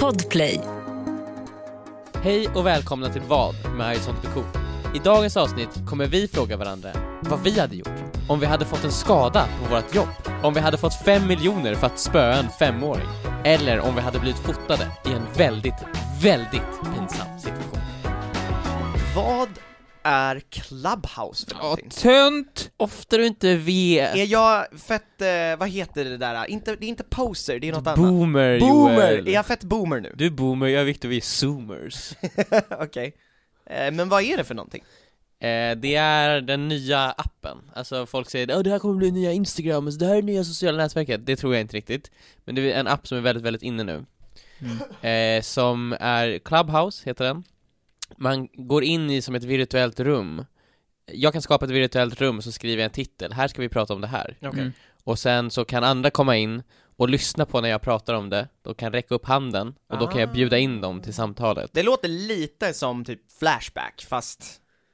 Podplay. Hej och välkomna till Vad med Horisont BK. I dagens avsnitt kommer vi fråga varandra vad vi hade gjort om vi hade fått en skada på vårt jobb, om vi hade fått fem miljoner för att spöa en femåring eller om vi hade blivit fotade i en väldigt, väldigt pinsam situation. Vad är Clubhouse för någonting? tönt! Ofta du inte vet. Är jag fett, eh, vad heter det där? Inte, det är inte poser, det är något annat Boomer, Boomer! Joel. Är jag fett boomer nu? Du är boomer, jag och Viktor vi är zoomers. Okej eh, Men vad är det för någonting? Eh, det är den nya appen, alltså folk säger att det här kommer bli nya Instagram, så det här är nya sociala nätverket, det tror jag inte riktigt Men det är en app som är väldigt, väldigt inne nu eh, Som är Clubhouse, heter den Man går in i som ett virtuellt rum Jag kan skapa ett virtuellt rum, så skriver jag en titel, här ska vi prata om det här Okej. Och sen så kan andra komma in och lyssna på när jag pratar om det, de kan räcka upp handen och då kan jag bjuda in dem till samtalet Det låter lite som typ Flashback fast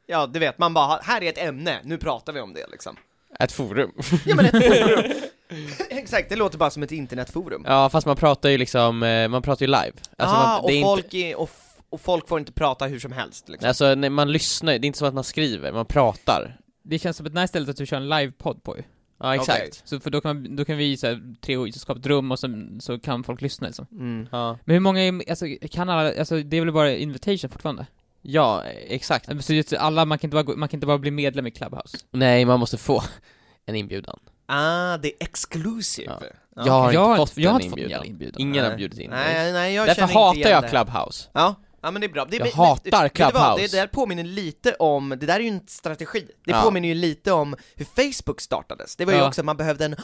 Ja du vet, man bara, här är ett ämne, nu pratar vi om det liksom Ett forum Ja men ett forum! Exakt, det låter bara som ett internetforum Ja fast man pratar ju liksom, eh, man pratar ju live alltså, ah, man, och, det är folk inte, är, och, f- och folk får inte prata hur som helst liksom. Alltså nej, man lyssnar ju, det är inte som att man skriver, man pratar Det känns som ett nice ställe att du kör en livepodd på ju. Ja exakt Okej. Så för då kan, man, då kan vi så här, tre och skapa ett rum och så, så kan folk lyssna liksom. mm. ja. Men hur många, är- alltså kan alla, alltså det är väl bara invitation fortfarande? Alltså, ja, exakt Så just alla, man kan inte bara, gå, man kan inte bara bli medlem i Clubhouse? Nej man måste få en inbjudan Ah, det är exclusive Ah. Ja. Ja, Jag har Jag inte har fått inte- jag en har inte fått inbjudan. någon inbjudan. Ingen har Nej. bjudit in mig Nej, nej, jag Därför känner inte igen hatar jag det. Clubhouse Ja, ja men det är bra. Det, Jag men- hatar vet du vad? Clubhouse. Det där påminner lite om, det där är ju en strategi. Det Ja. påminner ju lite om hur Facebook startades. Det var ju Ja. också att man behövde en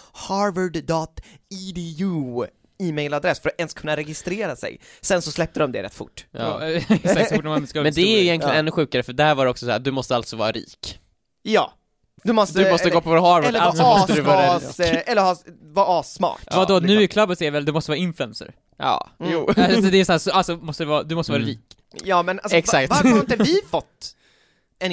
harvard.edu e-mailadress för att ens kunna registrera sig. Sen så släppte de det rätt fort. ja. Exakt, så fort man ska Men det är egentligen Ja. ännu sjukare för där var det också så här, du måste alltså vara rik Ja. Du måste, Du måste eller, gå på Harvard, eller alltså vara måste du vara rik asgas, eh, eller ha, vara assmart. Ja, Vadå, liksom. nu i Clubhouse är väl, du måste vara influencer? Ja, Mm. jo alltså det är såhär, så, alltså måste du vara, du måste vara Mm. rik. Ja men alltså, Exakt. va- varför har inte vi fått en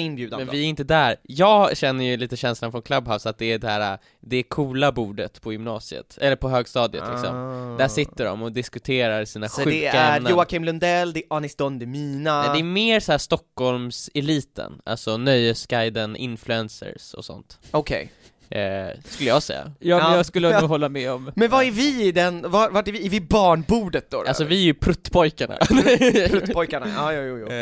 inbjudan Men då? vi är inte där. Jag känner ju lite känslan från Clubhouse att det är det här, det coola bordet på gymnasiet, eller på högstadiet liksom. Ah. Där sitter de och diskuterar sina Så sjuka det är ämnen. Joakim Lundell, det är Anis Don Demina Nej, det är mer såhär Stockholmseliten, alltså Nöjesguiden, influencers och sånt. Okej Eh, skulle jag säga. Ja, men Ja. jag skulle Ja. nog hålla med om... Men vad är vi i den, var, vart är vi, är vi barnbordet då? då? Alltså vi är ju pruttpojkarna. Pojkarna, ja jo jo jo Eh,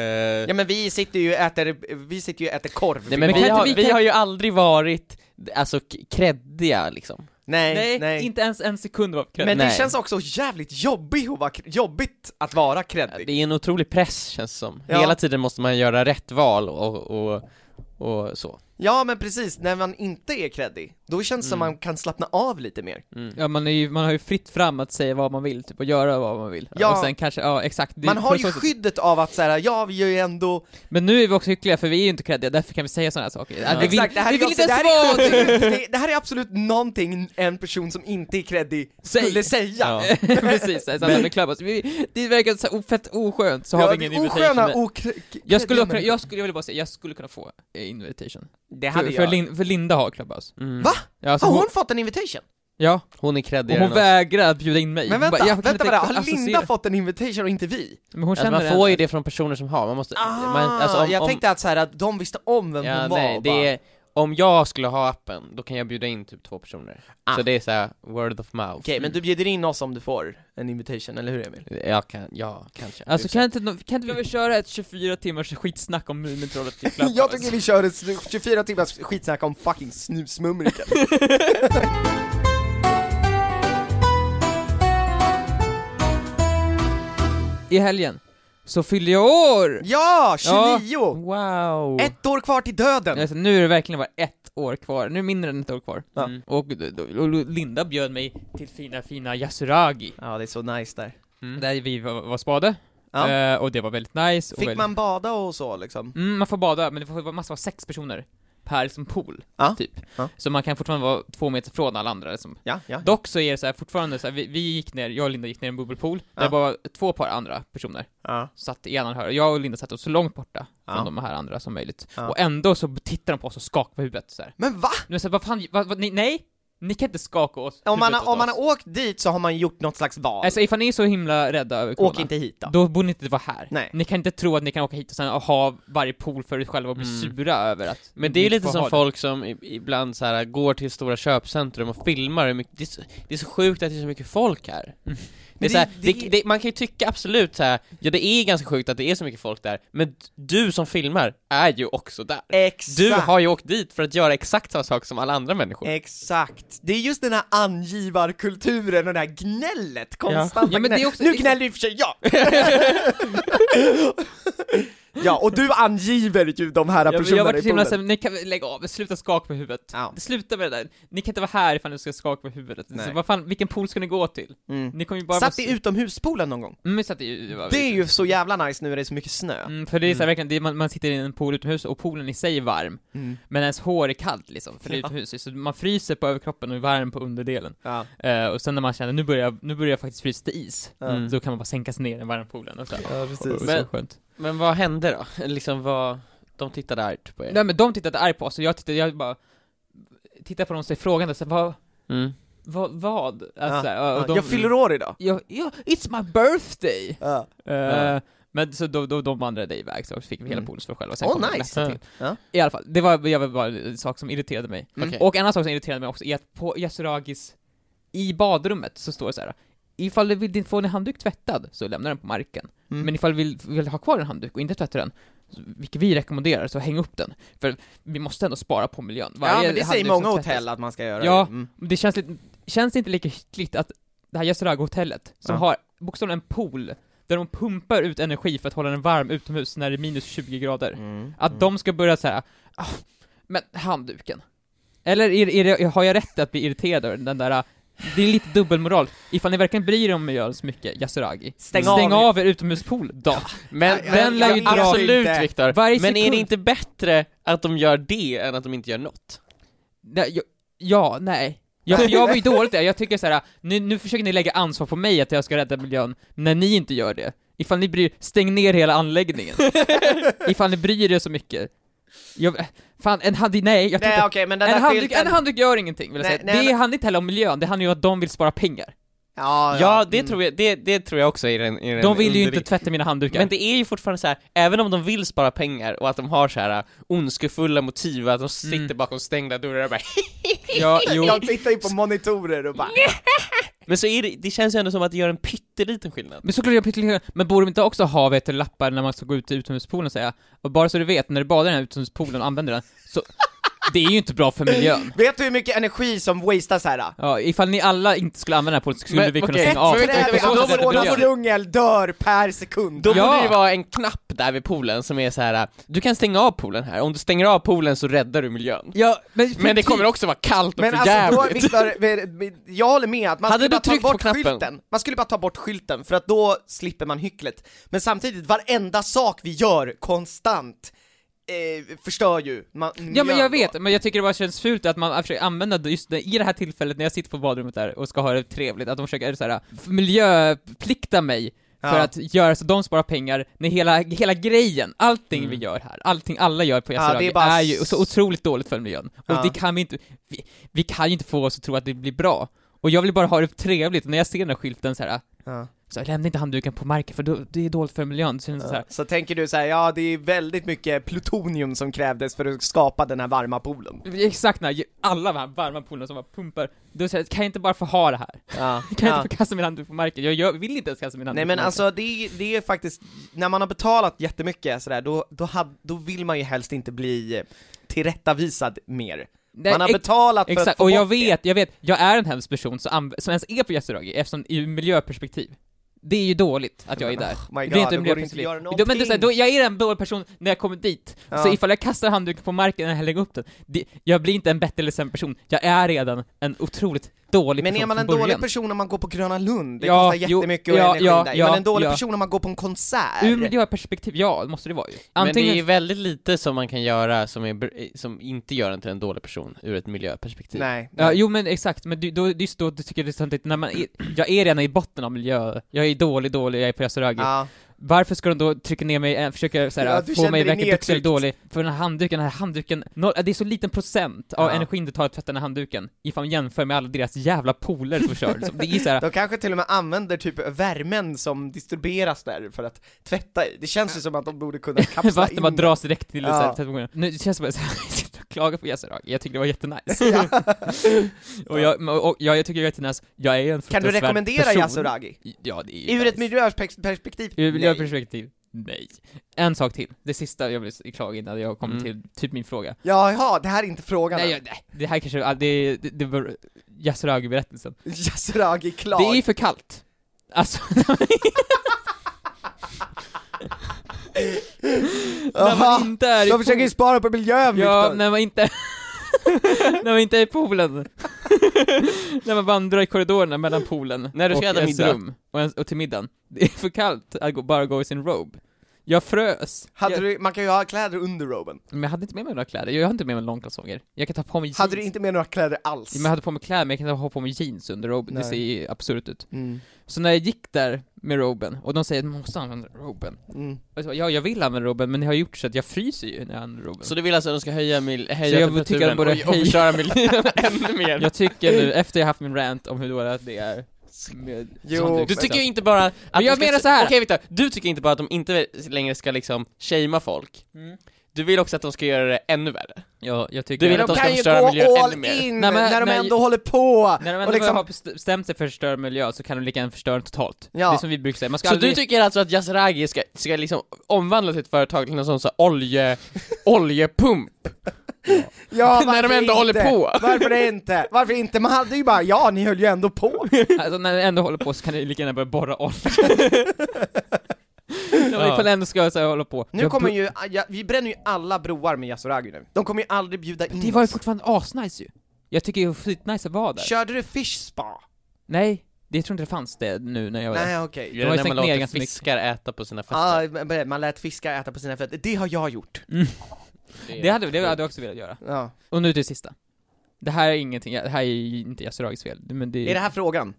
Ja men vi sitter ju och äter, vi sitter ju och äter korv Nej men kan vi inte har, vi- vi kan- har ju aldrig varit, alltså k- kreddiga liksom. nej, nej, Nej, inte ens en sekund var Men det Nej. känns också jävligt jobbigt att vara, jobbigt att vara Ja, kreddig Det är en otrolig press känns det som. Ja. Hela tiden måste man göra rätt val och, och, och så. Ja men precis, när man inte är kreddig, då känns det som man kan slappna av lite mer Mm. Ja man, är ju, man har ju fritt fram att säga vad man vill typ, och göra vad man vill. Ja. Och sen kanske, ja exakt. Det är Man har på ju så sätt. skyddet av att säga ja vi är ju ändå Men nu är vi också hyckliga för vi är ju inte kreddiga, därför kan vi säga sådana här saker. Ja. Vi vill, Exakt, det här vi är vill också- inte ens det här är- vara... det, det här är absolut någonting en person som inte är kreddig Säg. skulle säga Ja. Precis, såhär, men... klubbas. Vi, det verkar så här, fett oskönt, så har vi ingen invitation. osköna, men- okre- kreddiga jag skulle, kunna, människor. jag skulle, jag vill bara säga, jag skulle kunna få eh, invitation. Det För, hade för, jag Lin, för Linda har Clubhouse. Mm. Va? Ja, alltså, Har hon, hon fått en invitation? ja, Hon är och kreddigare hon än oss. vägrar att bjuda in mig. Men Hon vänta, bara, jag alltså, kan vänta inte bara, har associera- Linda fått en invitation och inte vi? Men hon Alltså, känner man får henne. ju det från personer som har, man måste... Ah, man, alltså, om, jag om, tänkte att, så här, att de visste om vem ja, hon var nej, och bara, det är, Om jag skulle ha appen, då kan jag bjuda in typ två personer. Ah. Så det är såhär, word of mouth. Okej, men du bjuder in oss om du får en invitation, eller hur Emil? Jag kan, ja, kanske. Alltså kan inte, no- kan inte vi köra ett 24 timmars skitsnack om Mumintrollet i Clubhouse? Jag tycker vi kör ett snu- 24 timmars skitsnack om fucking snusmumriken I helgen så fyller jag år! Ja, 29! Wow! Ett år kvar till döden! Alltså, nu är det verkligen bara ett år kvar, nu är det mindre än ett år kvar. Ja. Mm. Och, då- då- och Linda bjöd mig till fina, fina Yasuragi. Ja, det är så nice där Mm. Där vi var, var spade, ja. Eh, och det var väldigt nice. och Fick väldigt... man bada och så liksom? Mm, man får bada, men det får, man måste vara sex personer per liksom, pool, Ja. typ. Ja. Så man kan fortfarande vara två meter från alla andra liksom. Ja, ja Dock så är det så här, fortfarande så här, vi, vi gick ner, jag och Linda gick ner i en bubbelpool, där Ja. det bara var två par andra personer. Ja, satt i ena hörnet, jag och Linda satt oss så långt borta från Ja. de här andra som möjligt. Ja. Och ändå så tittar de på oss och skakar på huvudet så här. Men va? Men så här, vad fan, vad, vad, nej, nej, Ni kan inte skaka oss Om man, huvudet har, åt om man oss. har åkt dit så har man gjort något slags val. Alltså ifall ni är så himla rädda över corona, Åk inte hit då. då borde ni inte vara här. Nej. Ni kan inte tro att ni kan åka hit och sen ha varje pool för er själva och bli Mm. sura över att Men ni det är ju inte lite får som ha folk som i- ibland så här går till stora köpcentrum och filmar hur mycket, det är så, det är så sjukt att det är så mycket folk här. Mm. Det är Men så här det- det, det, man kan ju tycka absolut så här, ja det är ganska sjukt att det är så mycket folk där, men du som filmar är ju också där. Exakt. Du har ju åkt dit för att göra exakt samma sak som alla andra människor. Exakt. Det är just den här angivarkulturen och det här gnället, konstanta Ja, men det är gnäll. också- Nu gnäller i och för sig jag! ja, och du angiver ju de här Jag, jag personerna har varit i så himla poolen. såhär, ni kan väl lägga av, sluta skaka på huvudet. Ja. Sluta med det där, ni kan inte vara här ifall ni ska skaka på huvudet. Så, Nej. vad fan, vilken pool ska ni gå till? Mm. Ni kommer ju bara Satt i utomhuspoolen någon gång? Mm, satt i Det är ju så jävla nice nu när det är så mycket snö. Mm, för det är så här, verkligen, det är, man, man sitter i en pool utomhus och poolen i sig är varm, Mm. men ens hår är kallt liksom, för det är Ja. utomhus, så man fryser på överkroppen och är varm på underdelen. Ja. Eh, och sen när man känner, nu börjar, jag- nu börjar jag faktiskt frysa till is, Ja. mm. då kan man bara sänkas ner i den varma poolen och så, här, Ja, och, och precis. så Men- skönt. Men vad hände då? Liksom vad, de tittade argt på er. Nej men de tittade arg på oss och jag tittade, jag bara tittade på dem och så frågande, så här, vad, Mm. vad, vad? Alltså, Ja. så här, och Ja. de, Jag fyller år idag. Ja, ja, it's my birthday! Ja. Eh, Ja. Men så då, då, de vandrade iväg så fick vi hela Mm. poolen för oss själva och sen Oh, kom det nice. nästa till. Ja. I alla fall, det var, jag var bara en sak som irriterade mig. Mm. Okej. Och en annan sak som irriterade mig också är att på Yasuragis, i badrummet så står det så här. Ifall du vill få din handduk tvättad så lämna den på marken. Mm. Men ifall du vill, vill ha kvar din handduk och inte tvätta den, så- vilket vi rekommenderar, så häng upp den. För vi måste ändå spara på miljön. ja, Varje men det säger handduk många som tvättas- hotell att man ska göra. Ja. Mm. Det känns, lite, känns inte lika hyckligt att det här Yasuragi-hotellet, som Ja. har bokstavligen en pool, där de pumpar ut energi för att hålla den varm utomhus när det är minus 20 grader. Mm. Att de ska börja säga ah, men handduken. Eller är, är det, har jag rätt att bli irriterad över den där, ah, det är lite dubbelmoral. Ifall ni verkligen bryr er om miljön så mycket, Yasuragi, Stäng av. av er utomhuspool då. Men Nej, den jag- lär jag ju vet dra... Absolut inte. Viktor, Varje men är sekund. det inte bättre att de gör det än att de inte gör något? Nej, jag- Ja, nej. Jag, jag var ju dåligt där, jag tycker så här, ah, nu, nu försöker ni lägga ansvar på mig att jag ska rädda miljön, när ni inte gör det. Ifall ni bryr stäng ner hela anläggningen. Ifall ni bryr er så mycket. Jag, fan, en handduk, nej, jag tycker Nej okej, men den en, där handduk, skylten... en handduk gör ingenting, vill jag Nej, säga. nej, det handlar inte heller om miljön, det handlar ju om att de vill spara pengar. Ja, Mm. Ja, det, tror jag, det, det tror jag också är den, är den De vill ju underliga- inte tvätta mina handdukar. Men det är ju fortfarande så här, även om de vill spara pengar och att de har så här äh, ondskefulla motiv, att de sitter Mm. bakom stängda dörrar och bara ja, jo. De tittar ju på monitorer och bara... Men så är det, det känns ju ändå som att det gör en pytteliten skillnad. Men såklart, jag pyttelite- men borde de inte också ha vet, du, lappar när man ska gå ut i utomhuspoolen och säga, och bara så du vet, när du badar i den här utomhuspoolen och använder den, så det är ju inte bra för miljön. Vet du hur mycket energi som wastas här? Då? Ja, ifall ni alla inte skulle använda den här poolen så skulle Men, vi kunna okej. stänga av. Ett På träd- så då sätt får- miljön. då Ålafors djungel dör per sekund! Då Ja. borde det ju vara en knapp där vid poolen som är så här. äh, du kan stänga av poolen här, om du stänger av poolen så räddar du miljön. Ja, men, Men det kommer också vara kallt och Men för alltså då, jävligt. Viktor, vi- jag håller med att man Hade skulle du bara ta tryckt på bort knappen? skylten, man skulle bara ta bort skylten för att då slipper man hycklet. Men samtidigt, varenda sak vi gör konstant eh, förstör ju man, Ja men miljön jag då. vet, men jag tycker det bara känns fult att man försöker använda just det, i det här tillfället när jag sitter på badrummet där och ska ha det trevligt, att de försöker så här, miljöplikta mig för Ja. att göra så de sparar pengar, när hela, hela grejen, allting vi gör här, allting alla gör på Mm. Ja, Yasuragi det är, är bara ju s- så otroligt dåligt för miljön, Ja. och det kan vi inte, vi, vi kan ju inte få oss att tro att det blir bra, och jag vill bara ha det trevligt, och när jag ser den här skylten så här, Ja. så lämna inte handduken på marken för då, det är dåligt för miljön, så känns det så här, Så tänker du så här, ja det är väldigt mycket plutonium som krävdes för att skapa den här varma poolen. Exakt när ju- alla de här varma poolerna som bara pumpar, då säger jag, kan jag inte bara få ha det här? Ja. Kan jag inte få kasta min handduk på marken? Jag, gör- vill inte ens kasta min handduk Nej på men marken. alltså det, är- det är faktiskt, när man har betalat jättemycket sådär, då, då, hab, då vill man ju helst inte bli tillrättavisad mer. Nej, man har ex- betalat för att Exakt, få och bort jag det. vet, jag vet, jag är en hemsk person som, anv- som ens är på Yasuragi, eftersom ur miljöperspektiv. Det är ju dåligt att jag är Men, där. oh my det är God, då går det inte inte att miljöperspektiv. göra Då- Men det är så här, då, jag är en dålig person när jag kommer dit, Ja. så ifall jag kastar handduken på marken när jag lägger upp den, det, jag blir inte en bättre eller sämre person, jag är redan en otroligt dålig Men person är man liksom från en början. dålig person om man går på Gröna Lund? Det Ja, kostar jo, jättemycket och ja, energi ja, där. ja, är man en dålig ja. person om man går på en konsert? Ur miljöperspektiv, ja, det måste det vara ju. Men det är Antingen ju väldigt lite som man kan göra som, är, br- som inte gör en till en dålig person ur ett miljöperspektiv. Nej. Ja, nej. jo men exakt, men du, då, just då tycker jag det är sant att när man är, jag är redan i botten av miljö, jag är dålig, dålig, jag är på Yasuragi, Ja. varför ska de då trycka ner mig, eh, försöka såhär, Ja, du få kände mig att dig verka duktig eller nedtryckt. dålig? För den här handduken, den här handduken, noll, eh, det är så liten procent av Ja. energin det tar att tvätta den här handduken, ifall man jämför med alla deras jävla polare som kör liksom. Det är såhär, De kanske till och med använder typ värmen som distribueras där för att tvätta i. Det känns ju som att de borde kunna kapsla vatten in bara den. dras direkt till Ja. ja. tvättmaskinen. Nu det känns det bara såhär, jag sitter och klagar på Yasuragi, jag tycker det var jättenice. och jag, och, och, ja, jag tycker det var jättenice, jag är en Kan du fruktansvärd rekommendera person. Yasuragi? Ja, det är ju Ur ett nice. miljöperspektiv? Ur Nej. miljöperspektiv? Nej. En sak till, det sista jag vill klaga innan jag kommer Mm. till typ min fråga. Jaha, det här är inte frågan. Nej, Nej, jag, nej, det här kanske, ah, det, det, det var Yasuragi-berättelsen. Yasuragi klag. Det är ju för kallt. Alltså, när Jaha, man inte är i De försöker ju pool- spara på miljön Ja, Viktor. när man inte... när man inte är i poolen. när man vandrar i korridorerna mellan poolen När du ska och äta ens middag. rum och, ens, och till middagen. Det är för kallt att gå, bara gå i sin robe. Jag frös. Hade jag, du, man kan ju ha kläder under roben. Men jag hade inte med mig några kläder, jag har inte med mig långkalsonger. Jag kan ta på mig jeans. Hade du inte med några kläder alls? Ja, Men jag hade på mig kläder, men jag kan inte ha på mig jeans under roben, det Nej. ser ju absurt ut. Mm. Så när jag gick där med roben, och de säger att man måste använda roben. Mm. Och jag sa, ja, jag vill använda roben, men det har gjort så att jag fryser ju när jag använder roben. Så du vill alltså att de ska höja, mil- höja Så jag temperaturen tycker att de borde och, och höja- förstöra miljön ännu mer? Jag tycker nu, efter jag haft min rant om hur dåligt det är med Jo, sånt Du liksom. tycker ju inte bara att Men jag de ska- menar så här. Okej Viktor, du tycker inte bara att de inte längre ska liksom shamea folk Mm. Du vill också att de ska göra det ännu värre Ja, jag tycker... Du vill Men att de de ska kan ju gå förstöra miljön all ännu mer. in Nej, men- när de nej, ändå håller på! När de och ändå liksom- har bestämt sig för att förstöra miljö så kan de lika gärna förstöra den totalt. Ja. Det är som vi brukar säga, man ska Så aldrig... du tycker alltså att Yasuragi ska, ska liksom omvandla sitt företag till någon sån så här olje, oljepump? Ja, När de varför ändå håller inte? på. Varför inte? Varför inte? Man hade ju bara, ja ni höll ju ändå på! Alltså när den ändå håller på så kan den lika gärna börja borra olja. ja. Ifall den ändå ska så här, hålla på. Nu Jag kommer bro- ju, ja, vi bränner ju alla broar med Yasuragi nu. De kommer ju aldrig bjuda in Det var ju oss. fortfarande asnice ju. Jag tycker det är skitnice att vara där. Körde du fish spa? Nej, det jag tror inte det fanns det nu när jag var där. Nej okej. Det är har ju när stängt man ner låter ganska mycket. Ah, fiskar äta på sina fester Ja, men man lät fiskar äta på sina fötter. Det har jag gjort. Det hade, det hade jag också velat göra. Ja. Och nu till det sista. Det här är ingenting, det här är ju inte Yasuragis fel, men det, Är det här frågan?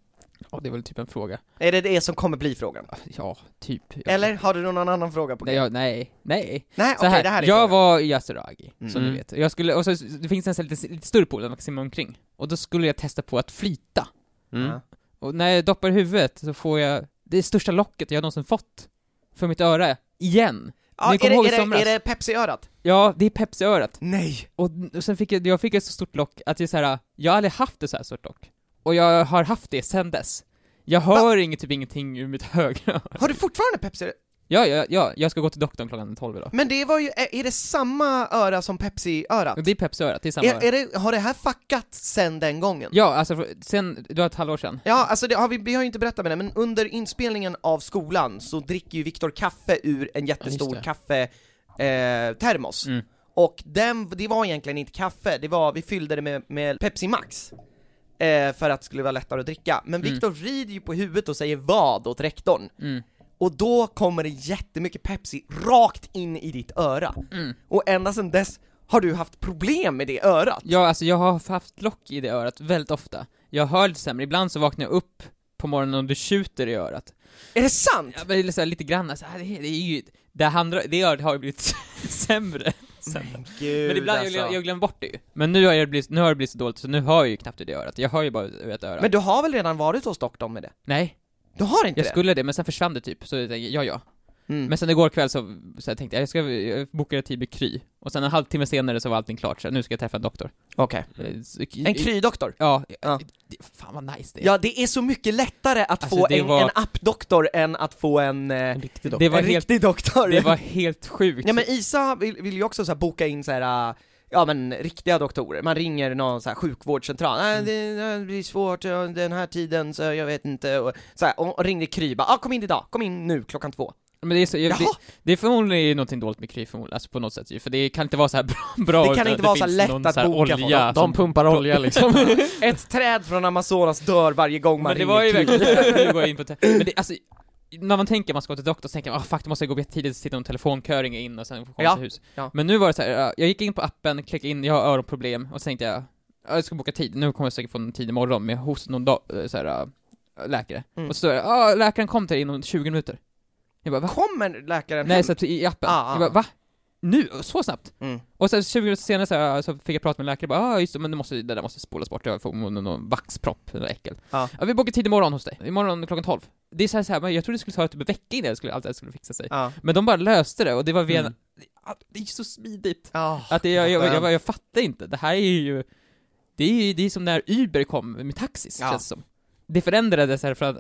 ja, det är väl typ en fråga. Är det det som kommer bli frågan? Ja, typ. Jag- Eller har du någon annan fråga på Nej, gång? jag, nej, nej. Nej, Så okej här, det här är jag frågan. var i Yasuragi, Mm. som du Mm. vet. Jag skulle, och så det finns en sån här lite, lite större pool där man kan simma omkring. Och då skulle jag testa på att flyta. mm. Ja. Och när jag doppar huvudet så får jag det största locket jag någonsin fått. För mitt öra. Igen. Ja, Ni är, kommer det, ihåg i är, det, somras? är det Pepsi-örat? Ja, det är Pepsi-örat. Nej! Och, och sen fick jag, jag fick ett så stort lock att jag såhär, jag har aldrig haft ett så här stort lock. Och jag har haft det sen dess. Jag hör inget, typ ingenting ur mitt högra Har du fortfarande pepsi ja, ja, ja, jag ska gå till doktorn klockan 12 idag. Men det var ju, är, är det samma öra som Pepsi-örat? Och det är Pepsi-örat, det är samma. Är, är det, har det här fuckat sen den gången? Ja, alltså sen, det var ett halvår sedan. Ja, alltså det har vi, vi har ju inte berättat med det, men under inspelningen av skolan så dricker ju Viktor kaffe ur en jättestor Ja, kaffe eh, termos. Mm. Och den, det var egentligen inte kaffe, det var, vi fyllde det med, med Pepsi Max. Eh, för att det skulle vara lättare att dricka. Men Mm. Viktor vrider ju på huvudet och säger vad åt rektorn. Mm. Och då kommer det jättemycket Pepsi rakt in i ditt öra. Mm. Och ända sedan dess har du haft problem med det örat. Ja, alltså jag har haft lock i det örat väldigt ofta. Jag hör lite sämre, ibland så vaknar jag upp på morgonen och det tjuter i örat. Är det sant? Ja, men det är så här, lite grann, alltså, det, det är ju, det andra, det örat har ju blivit sämre. sämre. Gud, Men ibland, alltså. jag, glöm- jag glömmer bort det ju. Men nu har, jag blivit, nu har det blivit så dåligt så nu hör jag ju knappt ur det örat, jag hör ju bara ur ett öra. Men du har väl redan varit hos doktorn med det? Nej, Du har inte jag det? skulle det men sen försvann det typ, så jag tänkte, ja ja. Mm. Men sen igår kväll så, så jag tänkte jag, jag ska jag bokade tid med Kry. Och sen en halvtimme senare så var allting klart, så nu ska jag träffa en doktor. Okej. Eh, så- En krydoktor? Ja, Ja. det- Fan vad nice det är. Ja, det är så mycket lättare att Alltså, få det en, var- en appdoktor än att få en, eh, riktig det, var en helt, riktig doktor. det var helt sjukt. Ja men Isa vill, vill ju också så här boka in så här. äh, Ja men riktiga doktorer, man ringer någon så här sjukvårdscentral, nej det, det blir svårt ja, den här tiden så jag vet inte, och, så här, och, och ringde Kry bara, ah, kom in idag, kom in nu klockan två. Men det är så, jag, det, Jaha! det är förmodligen ju någonting dåligt med Kry förmodligen, alltså på något sätt ju, för det kan inte vara så här bra, bra Det kan utan inte vara så finns lätt någon att så här boka folk. olja De som- pumpar olja liksom Ett träd från Amazonas dör varje gång man Men ringer det var ju Kry. verkligen, nu går jag in på te- men det, alltså, när man tänker att man ska gå till doktorn så tänker man ah fuck, då måste jag gå upp tidigt, sitta i någon telefonköring in och sen få komma Ja, till hus. ja. Men nu var det så här, ja, jag gick in på appen, klickade in, jag har öronproblem, och så tänkte jag, ja, jag ska boka tid, nu kommer jag säkert få en tid imorgon med hos någon da- eh, så här, eh, läkare. Mm. Och så står det, ah läkaren kom till dig inom 20 minuter. Jag bara, va? Kommer läkaren Nej, hem? så att i appen. Ah, ah. Jag bara, va? Nu? Så snabbt? Mm. Och sen 20 minuter senare så, här, så fick jag prata med en läkare, bara, ah, just det, men det, måste, det där måste spolas bort, jag får någon, någon vaxpropp, eller äckel. Ja. Ja, vi bokar tid imorgon hos dig, imorgon klockan 12. Det är så här, så här men jag trodde det skulle ta typ en vecka innan jag skulle, allt det här skulle fixa sig. Ja. Men de bara löste det, och det var via en, Mm. det är så smidigt! Ja. Att det, jag, jag, jag, skönt. jag, jag fattar inte, det här är ju... Det är ju det är som när Uber kom med taxis, Ja. känns det som. Det förändrades här för att,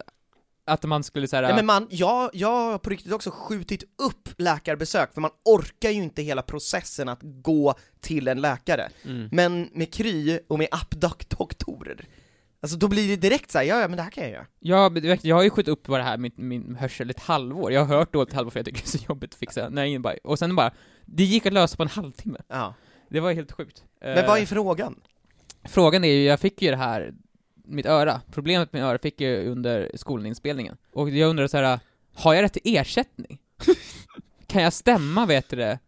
att man skulle så här, Nej men man, jag, jag har på riktigt också skjutit upp läkarbesök för man orkar ju inte hela processen att gå till en läkare. Mm. Men med Kry och med appdoktorer, alltså då blir det direkt så här, ja ja men det här kan jag göra. Ja, men direkt, jag har ju skjutit upp bara det här min, min hörsel ett halvår. Jag har hört dåligt ett halvår för jag tycker det är så jobbigt att fixa. Nej, ingen bara, och sen bara, det gick att lösa på en halvtimme. Ja. Det var helt sjukt. Eh, Men vad är frågan? Frågan är ju, jag fick ju det här, mitt öra, problemet med öra fick jag ju under skolinspelningen. Och jag undrar så här, har jag rätt till ersättning? kan jag stämma, vet du det?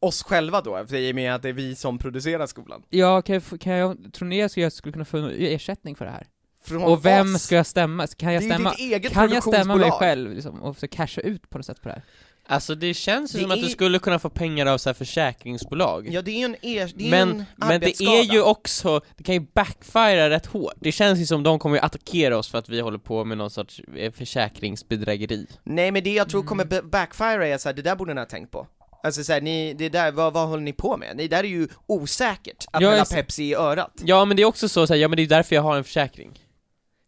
Oss själva då, för i och med att det är vi som producerar skolan. Ja, kan jag, få- kan jag, tror ni jag skulle, jag skulle kunna få en ersättning för det här? Från Och vem oss. ska jag stämma? Kan jag Det är ju stämma? ditt eget Kan jag stämma mig produktionsbolag. själv liksom, och så casha ut på något sätt på det här? Alltså det känns ju Det som att du är- skulle kunna få pengar av så här försäkringsbolag Ja det är ju en, er, det är men, en men det är ju också, det kan ju backfira rätt hårt. Det känns ju som de kommer ju attackera oss för att vi håller på med någon sorts eh, försäkringsbedrägeri. Nej men det jag tror kommer Mm. ba- backfire är såhär, det där borde ni ha tänkt på. Alltså såhär, ni, det där, vad, vad håller ni på med? Det där är ju osäkert, att Ja, hälla jag ser- Pepsi i örat. Ja men det är också så, så här, ja men det är därför jag har en försäkring.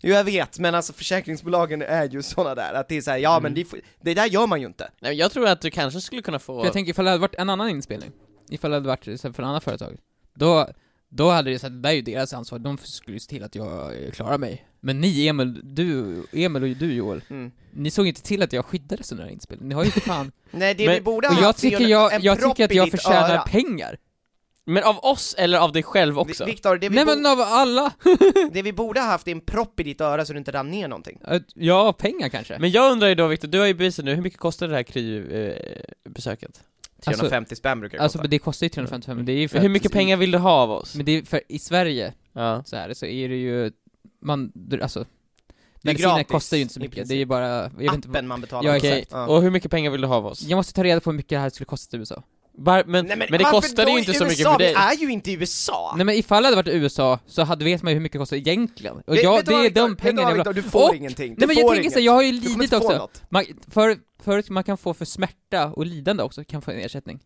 Jo jag vet, men alltså försäkringsbolagen är ju såna där, att det är såhär, ja men Mm. det, får- det där gör man ju inte. Nej, men jag tror att du kanske skulle kunna få... För jag tänker ifall det hade varit en annan inspelning, ifall det hade varit så här, för ett annat företag, då, då hade det så här, det där är ju deras ansvar, de skulle ju se till att jag eh, klarar mig. Men ni Emil, du, Emil och du Joel, Mm. ni såg inte till att jag skyddades under den här inspelningen, ni har ju för fan... Nej det Men- vi borde ha Och jag haft är tycker en- jag, en jag propp tycker att i jag ditt förtjänar öra. pengar. Men av oss eller av dig själv Vi- också? Viktor, det, vi Nej bo- men av alla! det vi borde ha haft är en propp i ditt öra så du inte rann ner någonting. Eh, Ja, pengar kanske. Men jag undrar ju då Viktor, du har ju bevisat nu, hur mycket kostade det här eh, KRY-besöket? 350 spänn brukar det Alltså kosta. men det kostar ju 355, men det är ju hur för att- liksom- mycket pengar vill du ha av oss? Men det är för, i Sverige Ja. så här så är det ju, man, dr- alltså Det är Medicinen gratis, kostar ju inte så i mycket, princip. det är ju bara, jag vet inte vad, Appen man betalar för. Ja, Okej, exakt. Ja. och hur mycket pengar vill du ha av oss? Jag måste ta reda på hur mycket det här skulle kosta i USA Var, men, Nej, men, det varför kostade då ju i inte så mycket USA? för dig. Vi är ju inte i USA! Nej men ifall det hade varit i USA så hade, vet man ju hur mycket det kostar egentligen Och jag, Vet du det vad, är Viktor? Vet du de vad, pengarna jag vill ha. Viktor? Du får Och- ingenting. Nej men du jag får tänker inget. såhär, jag har ju Du kommer lidit inte få också något. man, för, Förut man kan få för smärta och lidande också, kan få en ersättning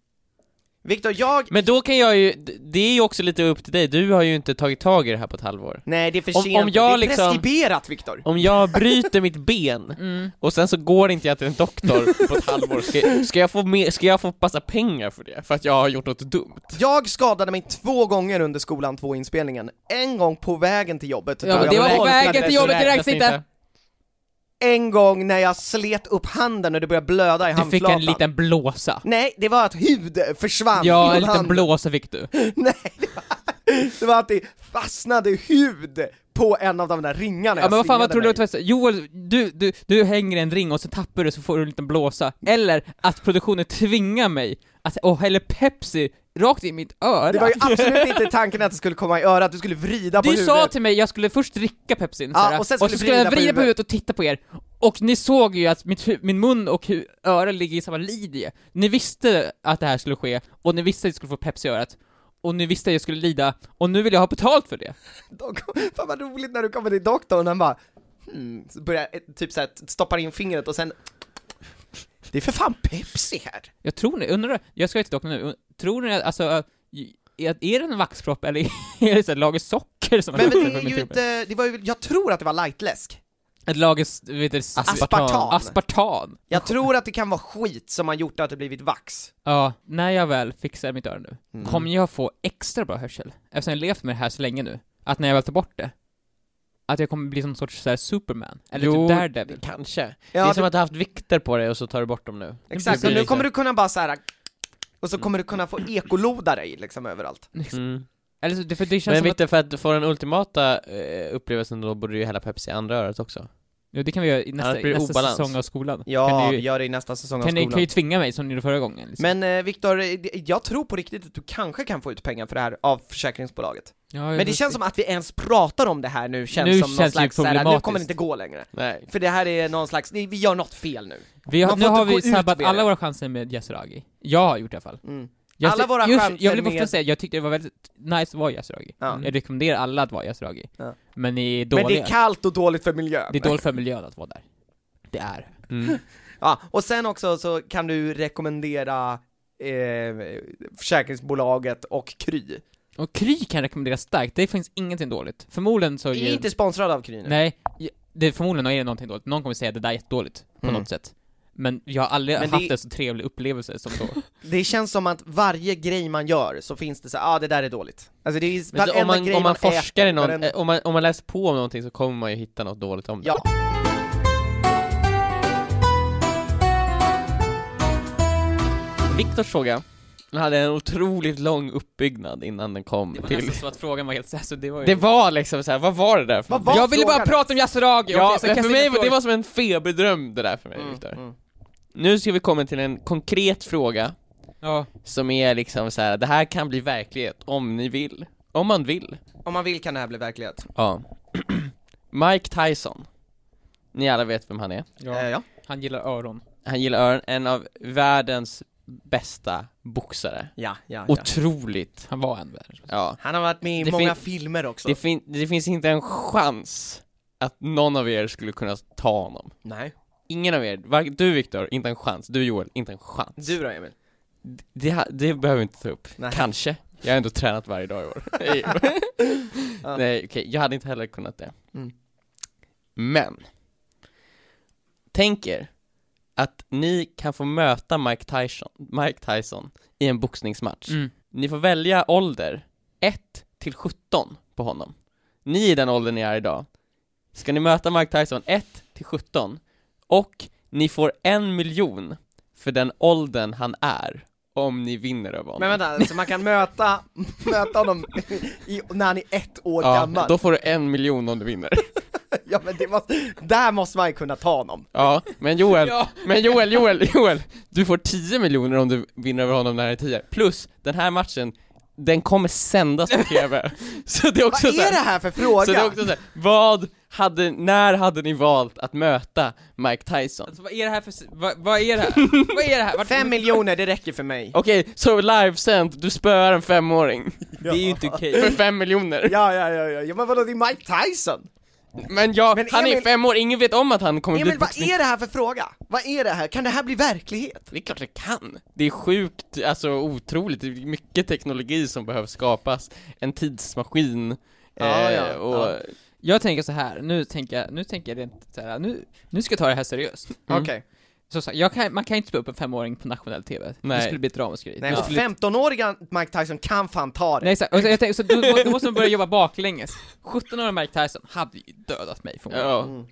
Viktor, jag... Men då kan jag ju, d- det är ju också lite upp till dig, du har ju inte tagit tag i det här på ett halvår. Nej, det är för Om- sent. om jag det är liksom- preskriberat, Viktor. Om jag bryter mitt ben mm. och sen så går inte jag till en doktor på ett halvår, ska, ska, jag få mer, ska jag få passa pengar för det? För att jag har gjort något dumt? Jag skadade mig två gånger under skolan, två inspelningen. En gång på vägen till jobbet. Ja, då men jag det var på våldtagits. vägen till jobbet, det räknas inte. En gång när jag slet upp handen och det började blöda i Du fick en handflatan. liten blåsa Nej, det var att hud försvann Ja, en från liten handen. blåsa fick du Nej, det var, det var att det fastnade hud på en av de där ringarna Ja men vad fan vad tror du att att tvätta? Joel, du, du, du hänger i en ring och så tappar du så får du en liten blåsa. Eller att produktionen tvingar mig att, åh, häller Pepsi rakt i mitt öra. Det var ju absolut inte tanken att det skulle komma i örat, du skulle vrida på du huvudet. sa till mig jag skulle först dricka Pepsin Ja, såhär, och sen och skulle så du skulle jag vrida på vrida på huvudet. huvudet och titta på er. Och ni såg ju att mitt, hu- min mun och hu- öra ligger i samma linje. Ni visste att det här skulle ske, och ni visste att jag skulle få Pepsi i örat. Och ni visste att jag skulle lida, och nu vill jag ha betalt för det. De kom- Fan vad roligt när du kommer till doktorn, han bara hmm, så börjar eh, typ såhär, stoppar in fingret och sen Det är för fan Pepsi här! Jag tror ni, undrar, jag ska ju till doktorn nu, tror ni att- alltså, att- är det en vaxpropp eller är det så här lager socker som Men, har men kommit det är från ju min tumme? inte, det var ju, jag tror att det var lightläsk Ett lager, s- vet du, s- Aspartam. aspartam. Jag tror att det kan vara skit som har gjort att det blivit vax Ja, när jag väl fixar mitt öra nu, Mm. kommer jag få extra bra hörsel? Eftersom jag levt med det här så länge nu, att när jag väl tar bort det, att jag kommer bli som en sorts så här, superman, eller Jo, typ Daredevil. Kanske. Ja, det är det- som att du har haft vikter på dig och så tar du bort dem nu. Exakt, Det blir och nu lite- kommer du kunna bara såhär och så kommer du kunna få ekoloda dig liksom överallt Mm. Eller så, det, för det känns Men som att, Viktor, för att få den ultimata eh, upplevelsen då borde du ju hälla Pepsi i andra örat också. ja, det kan vi göra i nästa, Annars blir i det nästa obalans. säsong av skolan. Ja, kan vi ni, gör det i nästa säsong av kan, ni, kan skolan ju tvinga mig som ni gjorde förra gången. Liksom. Men eh, Viktor, eh, det- jag tror på riktigt att du kanske kan få ut pengar för det här av försäkringsbolaget Ja, jag Men det vet känns som att vi ens pratar om det här nu, känns Nu som någon känns det ju slags såhär, nu kommer det problematiskt. inte gå längre. Nej. För det här är någon slags, nej, vi gör något fel nu. Vi har, Man nu får inte har gå vi ut sabbat med det. alla våra chanser med Yasuragi. Jag har gjort det i alla fall. Mm. Jag Alla ty- våra just, chanser Jag vill bara med- säga, jag tyckte det var väldigt nice att vara Yasuragi. Ja. Jag rekommenderar alla att vara Yasuragi. Ja. Men ni är dåliga. Men det är kallt och dåligt för miljön. det är dåligt för miljön att vara där. Det är. Mm. Ja, och sen också så kan du rekommendera eh, försäkringsbolaget och Kry. Och Kry kan jag rekommendera starkt, det finns ingenting dåligt. Förmodligen så... Vi är ger- inte sponsrade av Kry nu. Nej, det, förmodligen är det någonting dåligt. Någon kommer säga det där är jättedåligt, på Mm. något sätt. Men jag har aldrig Men det- haft en så trevlig upplevelse som då. Det känns som att varje grej man gör så finns det så ah det där är dåligt. Alltså det är Men så, varenda om man, grej om man forskar i äter, någon, varenda- eh, om, man, om man läser på om någonting så kommer man ju hitta något dåligt om det. Ja. Viktors fråga, den hade en otroligt lång uppbyggnad innan den kom Det var till... nästan så att frågan var helt alltså det var ju... Det var liksom så här, vad var det där för Vad någonting? var jag ville bara frågan? prata om Yasuragi! Ja, Okej, så men kasta för in mig, en var- det fråga. var som en feberdröm det där för mig, Mm, Viktor. mm. Nu ska vi komma till en konkret fråga Ja. som är liksom så här: det här kan bli verklighet om ni vill. Om man vill. Om man vill kan det här bli verklighet. Ja. Mike Tyson. Ni alla vet vem han är. Ja. Eh, ja. Han gillar öron. Han gillar öron, en av världens bästa boxare. Ja, ja, ja. Otroligt. Han var en värld. Ja. Han har varit med i Det många fin- filmer också. Det, fin- det finns inte en chans att någon av er skulle kunna ta honom. Nej. Ingen av er, varken du Viktor, inte en chans, du Joel, inte en chans. Du då Emil? Det, ha- det behöver vi inte ta upp. Nej. Kanske. Jag har ändå tränat varje dag i år. Nej, okej, jag hade inte heller kunnat det. Mm. Men, tänk er att ni kan få möta Mike Tyson, Mike Tyson i en boxningsmatch. Mm. Ni får välja ålder 1 till 17 på honom. Ni i den åldern ni är idag, ska ni möta Mike Tyson 1 till 17 och ni får en miljon för den åldern han är om ni vinner över honom. Men vänta, så man kan möta, möta honom i, när han är ett år ja, gammal? då får du en miljon om du vinner. Ja men det måste, där måste man ju kunna ta honom. Ja, men Joel, Ja. men Joel, Joel, Joel, du får 10 miljoner om du vinner över honom när han är 10. Plus, den här matchen, den kommer sändas på TV. Så det är Vad också så här- är det här för fråga? Så det är också så här, vad hade, när hade ni valt att möta Mike Tyson? Alltså vad är det här för, s- vad, vad är det här? vad är det här? Vart- Fem miljoner, det räcker för mig. Okej, så livesänt, du spöar en femåring Det är ju inte okej. för fem miljoner. Ja, ja, ja, ja, ja men vadå det är Mike Tyson? Men ja, Men han är Emil- fem år, ingen vet om att han kommer bli Emil, vad boxning. är det här för fråga? Vad är det här? Kan det här bli verklighet? Det är klart det kan. Det är sjukt, alltså otroligt, det är mycket teknologi som behövs skapas. En tidsmaskin. Ja, eh, ja, och, ja. Jag tänker så här. nu tänker jag, nu tänker jag rent så här. nu, nu ska jag ta det här seriöst. Mm. Okej, Så, så här, jag kan, man kan inte spela upp en femåring på nationell TV, Nej. det skulle bli ett ramaskri. nej Det men skulle- 15-åriga Mike Tyson kan fan ta det. Nej, så, här, och så, jag tänker, så då, då måste man börja jobba baklänges. 17-åriga Mike Tyson hade ju dödat mig förmodligen. ja. Mm.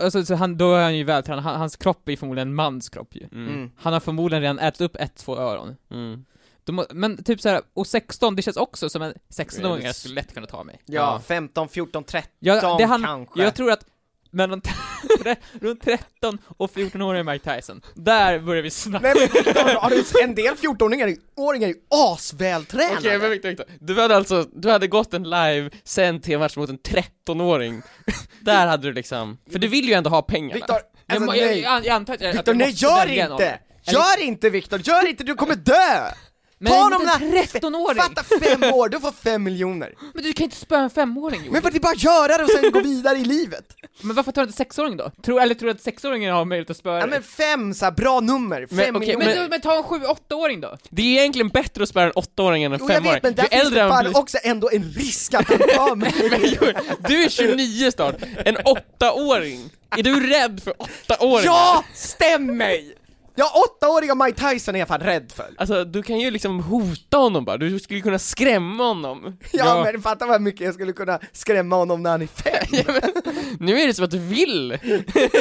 Alltså, så han, då är han ju vältränad, han, hans kropp är ju förmodligen en mans kropp ju. Mm. Mm. Han har förmodligen redan ätit upp ett, två öron. Mm. Då må, men typ så här, och 16, det känns också som en 16-åring Ja, det- skulle lätt kunna ta mig. Ja, Ja. 15, 14, 13 Ja, det han, kanske. jag tror att mellan tre- runt 13 och 14-åriga Mike Tyson, där börjar vi snacka. Nej men Viktor, har du- en del 14-åringar är- åringar är ju asvältränade! Okej, men Victor, Victor, du hade alltså, du hade gått en live sänd TV-match mot en 13-åring. Där hade du liksom, för du vill ju ändå ha pengarna. Viktor, Jag alltså må- jag, nej! jag, jag antar att jag, att Viktor, jag nej måste gör välja någon. inte! Gör inte Viktor, gör inte, du kommer dö! Men Ta en de liten där- 13-åring! Fatta fem år, du får fem miljoner! Men du kan inte spöa en femåring Joel. Men för att det är bara att göra det och sen gå vidare i livet! Men varför tar du inte sexåring då? Tror, eller tror du att sexåringen har möjlighet att spöa Ja dig? men fem så här, bra nummer, fem Men, okej, miljoner! men, men- men, ta en sju, åttaåring då! Det är egentligen bättre att spöa en åttaåring än en Jo jag femåring. vet men Du där är finns äldre det än fan blir... också ändå en risk att han tar mig! Du är 29 snart, en åttaåring! Är du rädd för åttaåringar? ja, stäm mig! Ja, åttaåriga Mike Tyson är jag fan rädd för! Alltså du kan ju liksom hota honom bara, du skulle kunna skrämma honom. Ja, men fatta vad mycket jag skulle kunna skrämma honom när han är fem! Nu är det som att du vill!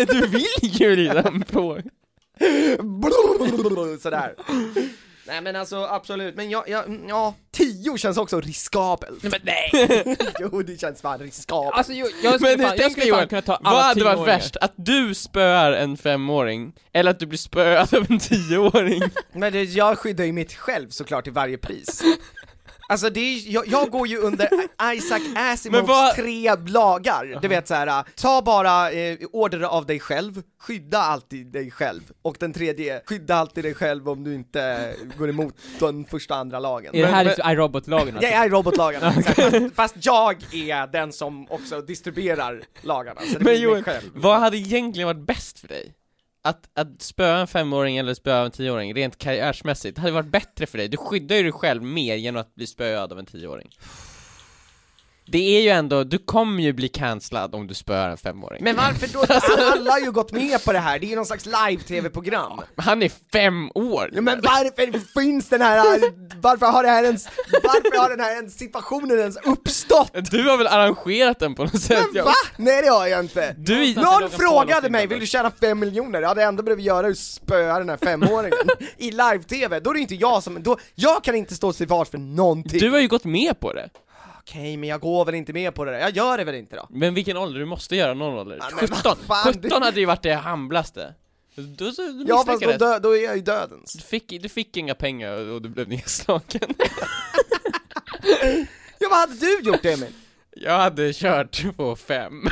Du vill ju redan på. Sådär. Nej men alltså absolut, men jag, jag, mm, ja, tio känns också riskabelt. Nej men nej! Jo det känns fan riskabelt. Alltså jo, jag skulle Men fan, jag tänk skulle dig fan Johan, kunna ta alla vad hade varit tioåringar. värst? Att du spöar en femåring, eller att du blir spöad av en tioåring? Men det, jag skyddar ju mitt själv såklart till varje pris. Alltså det är, jag, jag går ju under Isaac Men Asimovs vad- tre lagar, du vet såhär, ta bara eh, order av dig själv, skydda alltid dig själv, och den tredje, skydda alltid dig själv om du inte går emot den första och andra lagen. Är det här Men- men, iRobot-lagen alltså? Jag är robotlagen, exakt. fast, fast jag är den som också distribuerar lagarna, så det Men blir mig Joel, själv. Vad hade egentligen varit bäst för dig? Att, att spöa en femåring eller spöa en tioåring rent karriärsmässigt, det hade varit bättre för dig. Du skyddar ju dig själv mer genom att bli spöad av en tioåring. Det är ju ändå, du kommer ju bli cancellad om du spöar en femåring. Men varför då? Alltså, alla har ju gått med på det här, det är ju någon slags live-tv-program. han är fem år! Ja, men varför finns den här, varför har det här ens, varför har den här ens situationen ens uppstått? Du har väl arrangerat den på något sätt? Men va? Nej det har jag inte! Du är Någon frågade mig, vill du tjäna 5 miljoner? Ja det enda du behöver göra är att spöa den här femåringen i live-tv, då är det inte jag som, då, jag kan inte stå till svars för någonting Du har ju gått med på det. Okej, men jag går väl inte med på det där, jag gör det väl inte då? Men vilken ålder? Du måste göra någon ålder. Ja, men 17! vad fan, 17 hade ju varit det hamlaste. Du, du, du Ja fast då, misslyckades. dö, då är jag ju dödens Du fick, du fick inga pengar och- och du blev nedslagen. Ja vad hade du gjort Emil? Jag hade kört på fem.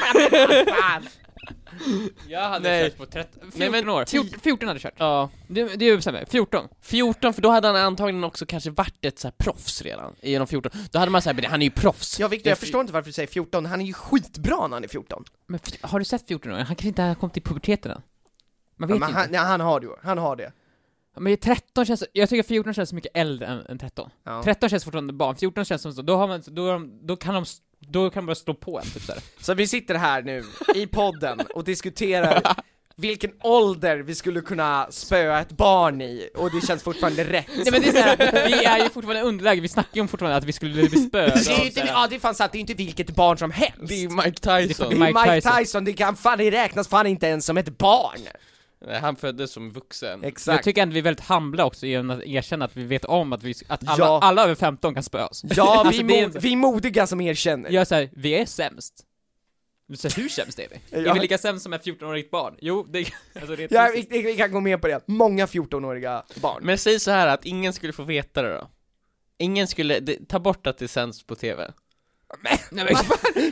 Jag hade Nej. kört på 13, 14 Nej, men år. tio- 14, 14 hade jag kört. Ja. Det, det är ju sämre, 14. 14, för då hade han antagligen också kanske varit ett så här proffs redan, genom 14. Då hade man såhär, men han är ju proffs. Ja Victor, jag förstår inte varför du säger 14, han är ju skitbra när han är 14 Men f- har du sett 14 år? Han kanske inte har kommit till puberteten än. Man vet men inte. han, nej, han har det, ju, han har det Men 13 känns, jag tycker 14 känns så mycket äldre än, än 13. ja. 13 känns fortfarande barn, 14 känns som så, då har man, då, är de, då kan de, s- då kan de bara slå på en typ såhär. Så vi sitter här nu i podden och diskuterar vilken ålder vi skulle kunna spöa ett barn i, och det känns fortfarande rätt. Nej men det är såhär, vi är ju fortfarande i underläge, vi snackar ju om fortfarande att vi skulle bli spöade av Det är ju inte, såhär- ja det är fan sant, det är ju inte vilket barn som helst. Det Det är är Mike Det Tyson. är Mike Mike Tyson. Tyson, det, kan fan, det räknas fan inte ens som ett barn! Nej, han föddes som vuxen. Jag Exakt. tycker ändå vi är väldigt humbla också genom att erkänna att vi vet om att, vi, att alla, Ja. alla över 15 kan spöa oss. Ja, vi, Alltså, det är mo- inte- vi är modiga som erkänner. Jag är såhär, vi är sämst. Men Så här, hur sämst är vi? Är vi lika sämst som ett 14-årigt barn? Jo, det, alltså det är Ja, ja, vi, vi kan gå med på det. Många 14-åriga barn. Men säg så här att ingen skulle få veta det då. Ingen skulle, det, ta bort att det sänds på TV. Nej, men,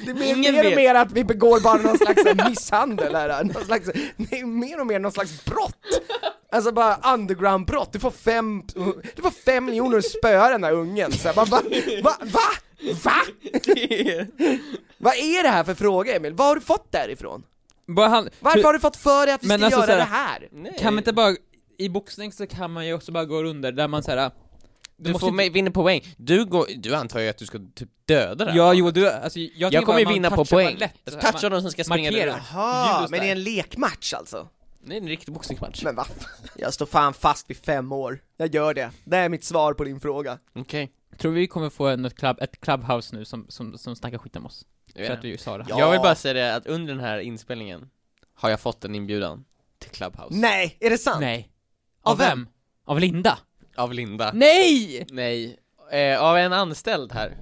Det blir Ingen mer och vet. mer att vi begår bara någon slags så här misshandel här, någon slags, det är mer och mer någon slags brott! Alltså bara underground-brott, du får fem, du får fem miljoner att spöa den där ungen, så här, bara, va, va, va? Va? Vad är det här för fråga Emil? Vad har du fått därifrån? bara han, Varför har du fått för dig att vi Men ska alltså göra så här- det här? Nej. Kan man inte bara, i boxning så kan man ju också bara gå under där man såhär, Du måste får inte- inte... vinna poäng. Du, går, du antar ju att du ska typ döda den. ja jo du, alltså jag, tycker jag kommer bara ju man vinna på touchar bara poäng. lätt. Jag touchar de som ska springa markerar. runt. Jaha, Ljus men det är där. en lekmatch alltså? Det är en riktig boxningsmatch. Men va? Jag står fan fast vid fem år, jag gör det. Det är mitt svar på din fråga. Okej. Man, tror vi kommer få en, ett, club, ett clubhouse nu som, som, som snackar skit om oss? Jag vet För inte. att vi sa det här. Ja. Jag vill bara säga det att under den här inspelningen har jag fått en inbjudan till Clubhouse. Nej, är det sant? Nej. Av Av vem? Av Linda? Av Linda. Nej! Nej. Eh, av en anställd här.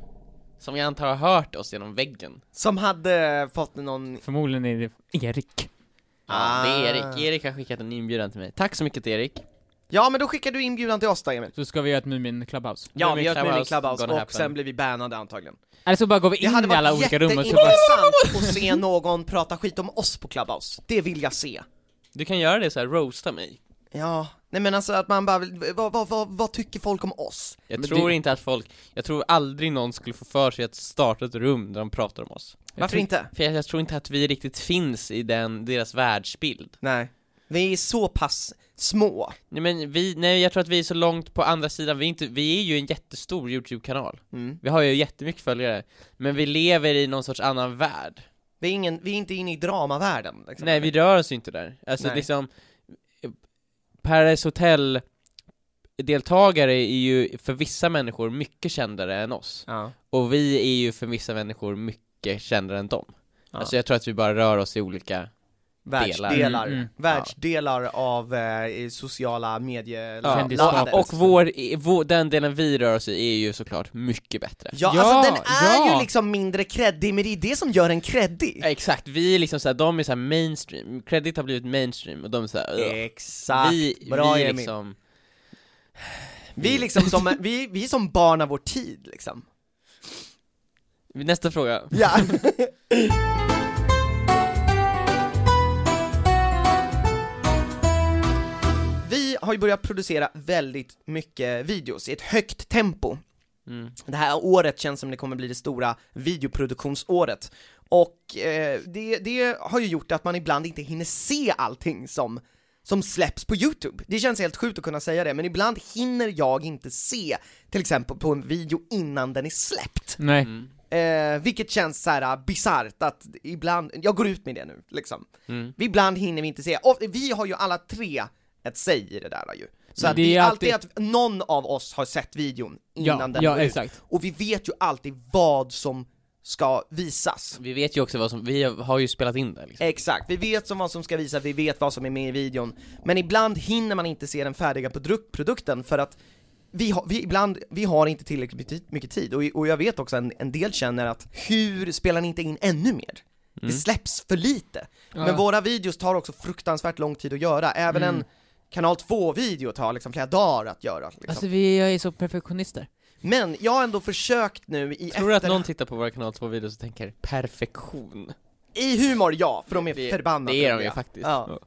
Som jag antar har hört oss genom väggen. Som hade fått någon... Förmodligen är det Erik. Ja, det är Ah. Erik. Erik har skickat en inbjudan till mig. Tack så mycket till Erik. Ja men då skickar du inbjudan till oss då Emil. Så ska vi göra ett Mumin Clubhouse. Ja, Mumin vi gör ett Mumin Clubhouse Clubhouse gonna och happen. sen blir vi bannade antagligen. Eller så bara går vi Det in hade i alla varit olika rum och så jätteintressant bara... att se någon prata skit om oss på Clubhouse. Det vill jag se. Du kan göra det så här, roasta mig. Ja, nej men alltså att man bara vill, vad, vad, vad, vad tycker folk om oss? Jag Men tror det- inte att folk, jag tror aldrig någon skulle få för sig att starta ett rum där de pratar om oss. Jag Varför tror- inte? För jag, jag tror inte att vi riktigt finns i den, deras världsbild. Nej. Vi är så pass små. Nej men vi, nej jag tror att vi är så långt på andra sidan, vi är, inte, vi är ju en jättestor YouTube-kanal. Mm. Vi har ju jättemycket följare, men vi lever i någon sorts annan värld. Vi, är ingen, vi är inte inne i dramavärlden. Liksom. Nej, vi rör oss ju inte där. Alltså Nej. liksom, eh, Paradise Hotel deltagare är ju för vissa människor mycket kändare än oss. Ja. Och vi är ju för vissa människor mycket kändare än dem. Ja. Alltså jag tror att vi bara rör oss i olika Världsdelar, Delar. Mm, mm. världsdelar av eh, sociala medier Ja, Kändisskapet. och vår, i- vår, den delen vi rör oss i är ju såklart mycket bättre. Ja, Ja, alltså den är ja. ju liksom mindre creddig, men det är det som gör en creddig. Exakt, vi är liksom såhär, de är såhär mainstream, Credit har blivit mainstream och de är liksom- såhär, "Ugh." Exakt, vi, bra vi är Emil. liksom Vi är liksom som, vi, vi är som barn av vår tid liksom. Nästa fråga. Ja. Vi har ju börjat producera väldigt mycket videos i ett högt tempo. Mm. Det här året känns som det kommer bli det stora videoproduktionsåret. Och eh, det, det har ju gjort att man ibland inte hinner se allting som, som släpps på YouTube. Det känns helt sjukt att kunna säga det, men ibland hinner jag inte se till exempel på en video innan den är släppt. Nej. Mm. Eh, vilket känns så här bisarrt att ibland, jag går ut med det nu liksom. Mm. Vi ibland hinner vi inte se, och vi har ju alla tre ett säg i det där ju. Så Men att Mm. det det är är alltid att någon av oss har sett videon innan Ja, den ja går ut. exakt. Och vi vet ju alltid vad som ska visas. Vi vet ju också vad som, vi har ju spelat in det liksom. Exakt, vi vet som vad som ska visas, vi vet vad som är med i videon. Men ibland hinner man inte se den färdiga produk- produkten för att vi har, vi, ibland, vi har inte tillräckligt mycket tid- mycket tid och, och jag vet också en, en del känner att hur spelar ni inte in ännu mer? Mm. Det släpps för lite. Men våra videos tar också fruktansvärt lång tid att göra, även Mm. en kanal 2-video tar liksom flera dagar att göra. Liksom. Alltså vi är så perfektionister. Men jag har ändå försökt nu i Tror du att efter- någon tittar på våra kanal 2-videos och tänker 'perfektion'? I humor ja, för de är Det- förbannade det är de ju roliga. faktiskt. Ja.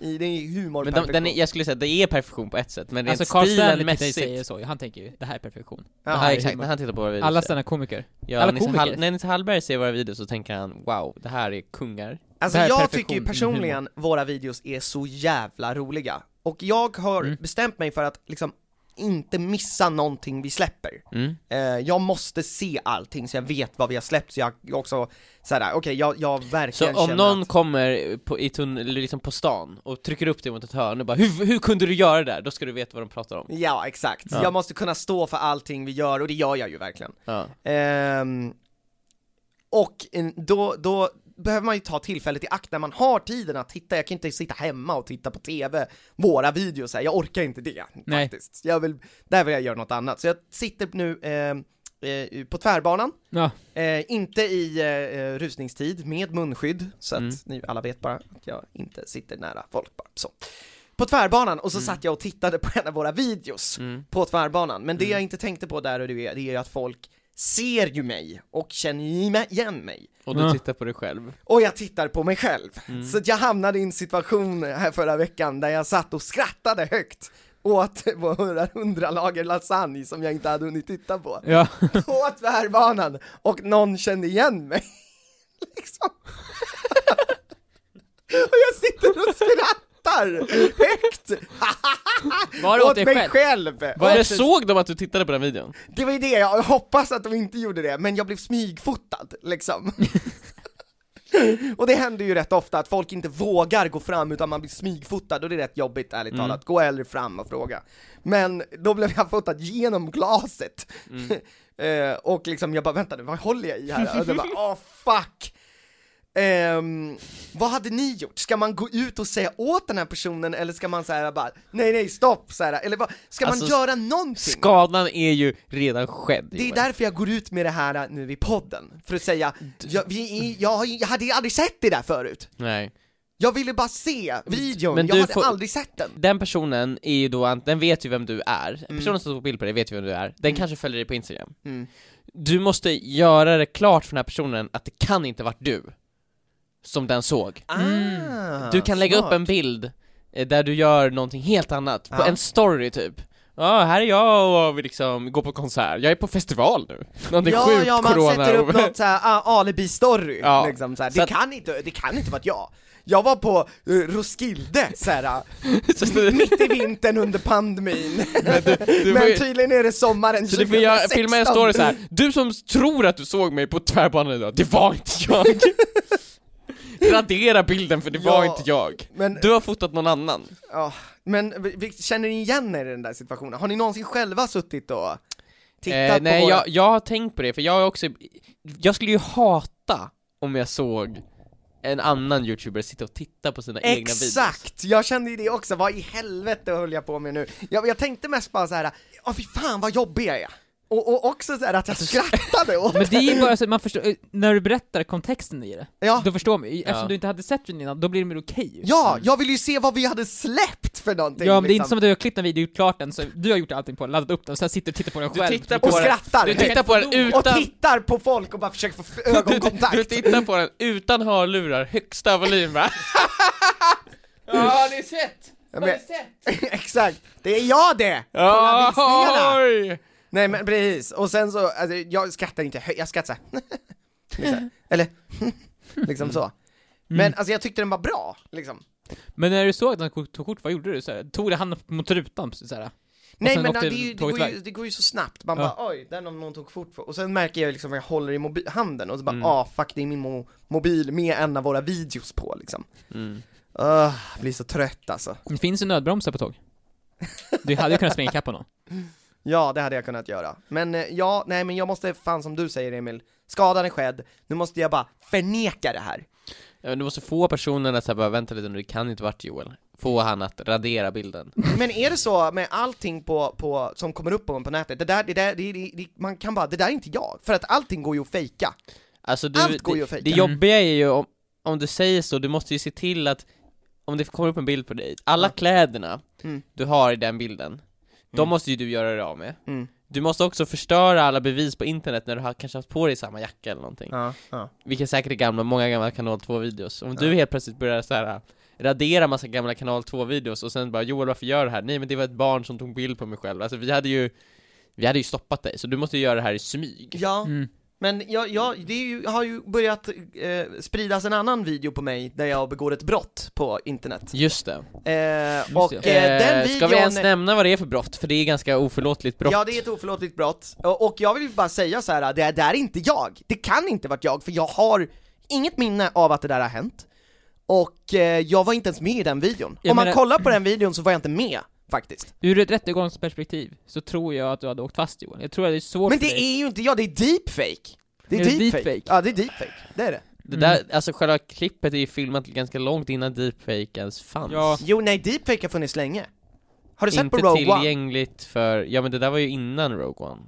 I, det är humor Men de, perfektion. den är, jag skulle säga att det är perfektion på ett sätt, men rent Alltså Carl Stanley stilen till dig säger mässigt så, han tänker ju det här är perfektion. Ja, Ja det är exakt, humor. när han tittar på våra videos Alla standup-komiker. ja, alla Nisse komiker. Hall- När Nisse Hallberg ser våra videos så tänker han 'wow, det här är kungar' Alltså Det här är jag perfektion tycker ju i personligen våra videos är så jävla roliga. Och jag har bestämt mig för att liksom inte missa någonting vi släpper. mm. Eh, jag måste se allting så jag vet vad vi har släppt, så jag också såhär, okej jag, jag verkligen Så om känner någon att... kommer på, i tunn, eller liksom på stan och trycker upp dig mot ett hörn och bara hur, 'Hur kunde du göra det där?' Då ska du veta vad de pratar om Ja, exakt. Ja. Jag måste kunna stå för allting vi gör, och det gör jag ju verkligen. ja. Ehm, och en- då, då behöver man ju ta tillfället i akt när man har tiden att titta, jag kan inte sitta hemma och titta på TV, våra videos här, jag orkar inte det Nej. faktiskt. Jag vill, där vill jag göra något annat. Så jag sitter nu ehm, eh, på tvärbanan, Ja. eh, inte i eh, rusningstid, med munskydd, så att Mm. ni alla vet bara att jag inte sitter nära folk bara så. På tvärbanan, Mm. och så satt jag och tittade på en av våra videos mm. på tvärbanan, men det Mm. jag inte tänkte på där och det är det är ju att folk ser ju mig och känner ju me- igen mig. Och du Ja. tittar på dig själv Och jag tittar på mig själv. Mm. Så att jag hamnade i en situation här förra veckan där jag satt och skrattade högt åt våra hundra lager lasagne som jag inte hade hunnit titta på. Ja. På tvärbanan och någon kände igen mig. liksom. och jag sitter och skrattar högt Var det åt åt dig mig själv? själv. Vad är Eller det- såg de att du tittade på den videon? Det var ju det, jag hoppas att de inte gjorde det, men jag blev smygfotad liksom. och det händer ju rätt ofta att folk inte vågar gå fram utan man blir smygfotad och det är rätt jobbigt ärligt Mm. talat, gå hellre fram och fråga. Men då blev jag fotad genom glaset. Mm. Eh, och liksom jag bara vänta nu, vad håller jag i här? Och det bara, åh fuck! Ehm, vad hade ni gjort? Ska man gå ut och säga åt den här personen eller ska man säga bara, nej nej stopp, så här, eller vad, ska Alltså, man göra någonting? Skadan är ju redan skedd Det är Joel. därför jag går ut med det här äh, nu i podden, för att säga, jag, vi, är- jag, har ju- jag hade ju aldrig sett det där förut! Nej Jag ville bara se videon, men jag du hade får- aldrig sett den! Den personen är ju då, ant- den vet ju vem du är, personen som tog bild på dig vet ju vem du är, den kanske följer dig på instagram Mm. Du måste göra det klart för den här personen att det kan inte varit du Som den såg Ah, Mm. Du kan lägga smart. upp Ah. en bild eh, där du gör någonting helt annat, på Ja. en story typ Ja, här är jag och vi liksom går på konsert, jag är på festival nu Någonting Ja, sjukt ja, man corona sätter upp något såhär ah, alibi-story, Ja. liksom såhär. Så det, att- kan inte, det kan inte vara jag! Jag var på uh, Roskilde såhär, Så du- mitt i vintern under pandemin, du får men ju- tydligen är det sommaren Så du får göra, filma en 2016. story så här. du som tror att du såg mig på tvärbanan idag, det var inte jag! Radera bilden för det var Ja. inte jag! Men Du har fotat någon annan. Ja, men vi- vi- känner ni igen er i den där situationen? Har ni någonsin själva suttit och tittat Eh, nej, på våra... jag, jag har tänkt på det, för jag är också, jag skulle ju hata om jag såg en annan youtuber sitta och titta på sina egna videos. Exakt! Jag kände ju det också, vad i helvete höll jag på med nu? Jag, jag tänkte mest bara så här. ja fy fan vad jobbig jag är! Och, och också så här att jag Alltså, skrattade åt Men det är ju bara så att man förstår, eh, när du berättar kontexten i det, Ja. då förstår man ju. Eftersom Ja. du inte hade sett den innan, då blir det mer okej ju. Ja, jag ville ju se vad vi hade släppt! test för någonting Ja men det är liksom. inte som att du har klippt en video, gjort klart den, så du har gjort allting på den, laddat upp den, och sen sitter du och tittar på den Du själv tittar Och på den- skrattar! Du tittar på den och utan... tittar på folk och bara försöker få f- Du ögonkontakt! tittar på den utan hörlurar, högsta volym va? Ja, har ni sett? Ja, men- Exakt, det är jag det! Kolla Ja, visningarna! oj! Nej men precis, och sen så, alltså, jag skrattar inte, hö- jag skrattar så här. liksom. Eller, liksom Mm. så. Men alltså jag tyckte den var bra, liksom. Men när du såg att han tog kort, vad gjorde du? Så här, tog du handen mot rutan? Så här. Nej sen men det, åkte är ju, det, tåget går ju, iväg. det går ju så snabbt, man Ja. bara oj, där någon, någon tog fort på. Och sen märker jag liksom att jag håller i mobi- handen och så bara Mm. ah fuck det är min mo- mobil med en av våra videos på liksom. Mm. Ah, blir så trött alltså. Det finns ju nödbromsar på tåg. Du hade ju kunnat springa ikapp honom. Ja, det hade jag kunnat göra. Men eh, ja, nej men jag måste fan som du säger Emil, skadan är skedd, nu måste jag bara förneka det här. Ja, men Du måste få personen att säga bara vänta lite nu, det kan inte varit Joel. Få han att radera bilden. Men är det så med allting på, på, som kommer upp om en på nätet, det där, det där, det, det, det, man kan bara, det där är inte jag, för att allting går ju att fejka. Alltså du, Allt går ju att det, fejka. det jobbiga är ju om, om du säger så, du måste ju se till att om det kommer upp en bild på dig, alla Ja. kläderna Mm. du har i den bilden, de Mm. måste ju du göra dig av med. Mm. Du måste också förstöra alla bevis på internet när du har kanske haft på dig samma jacka eller någonting. Ja, ja. Vilket säkert är gamla, många gamla kanal 2-videos. Om Ja. du helt plötsligt börjar så här äh, radera massa gamla kanal 2-videos och sen bara Joel varför gör du det här? Nej men det var ett barn som tog bild på mig själv. Alltså vi hade ju, vi hade ju stoppat dig, så du måste ju göra det här i smyg. ja Mm. men jag, jag, det är ju, har ju börjat eh, spridas en annan video på mig där jag begår ett brott på internet. Just det. Eh, det. och eh, den Eh, videon... Ska vi ens nämna vad det är för brott? För det är ganska oförlåtligt brott. Ja, det är ett oförlåtligt brott. Och och jag vill ju bara säga så här, det där är inte jag. Det kan inte varit jag, för jag har inget minne av att det där har hänt. Och eh, jag var inte ens med i den videon. Jag Om man menar- kollar på den videon så var jag inte med, faktiskt. Ur ett rättegångsperspektiv så tror jag att du hade åkt fast Joel. Jag tror att det är svårt Men för det dig. är ju inte jag, det är deepfake! Det är, Är det deepfake. deepfake? Ja, det är deepfake. Det är det. Det där, alltså själva klippet är ju filmat ganska långt innan deepfake ens fanns. Ja. Jo, nej, deepfake har funnits länge. Har du sett Inte på Rogue One? tillgängligt för, ja men det där var ju innan Rogue One.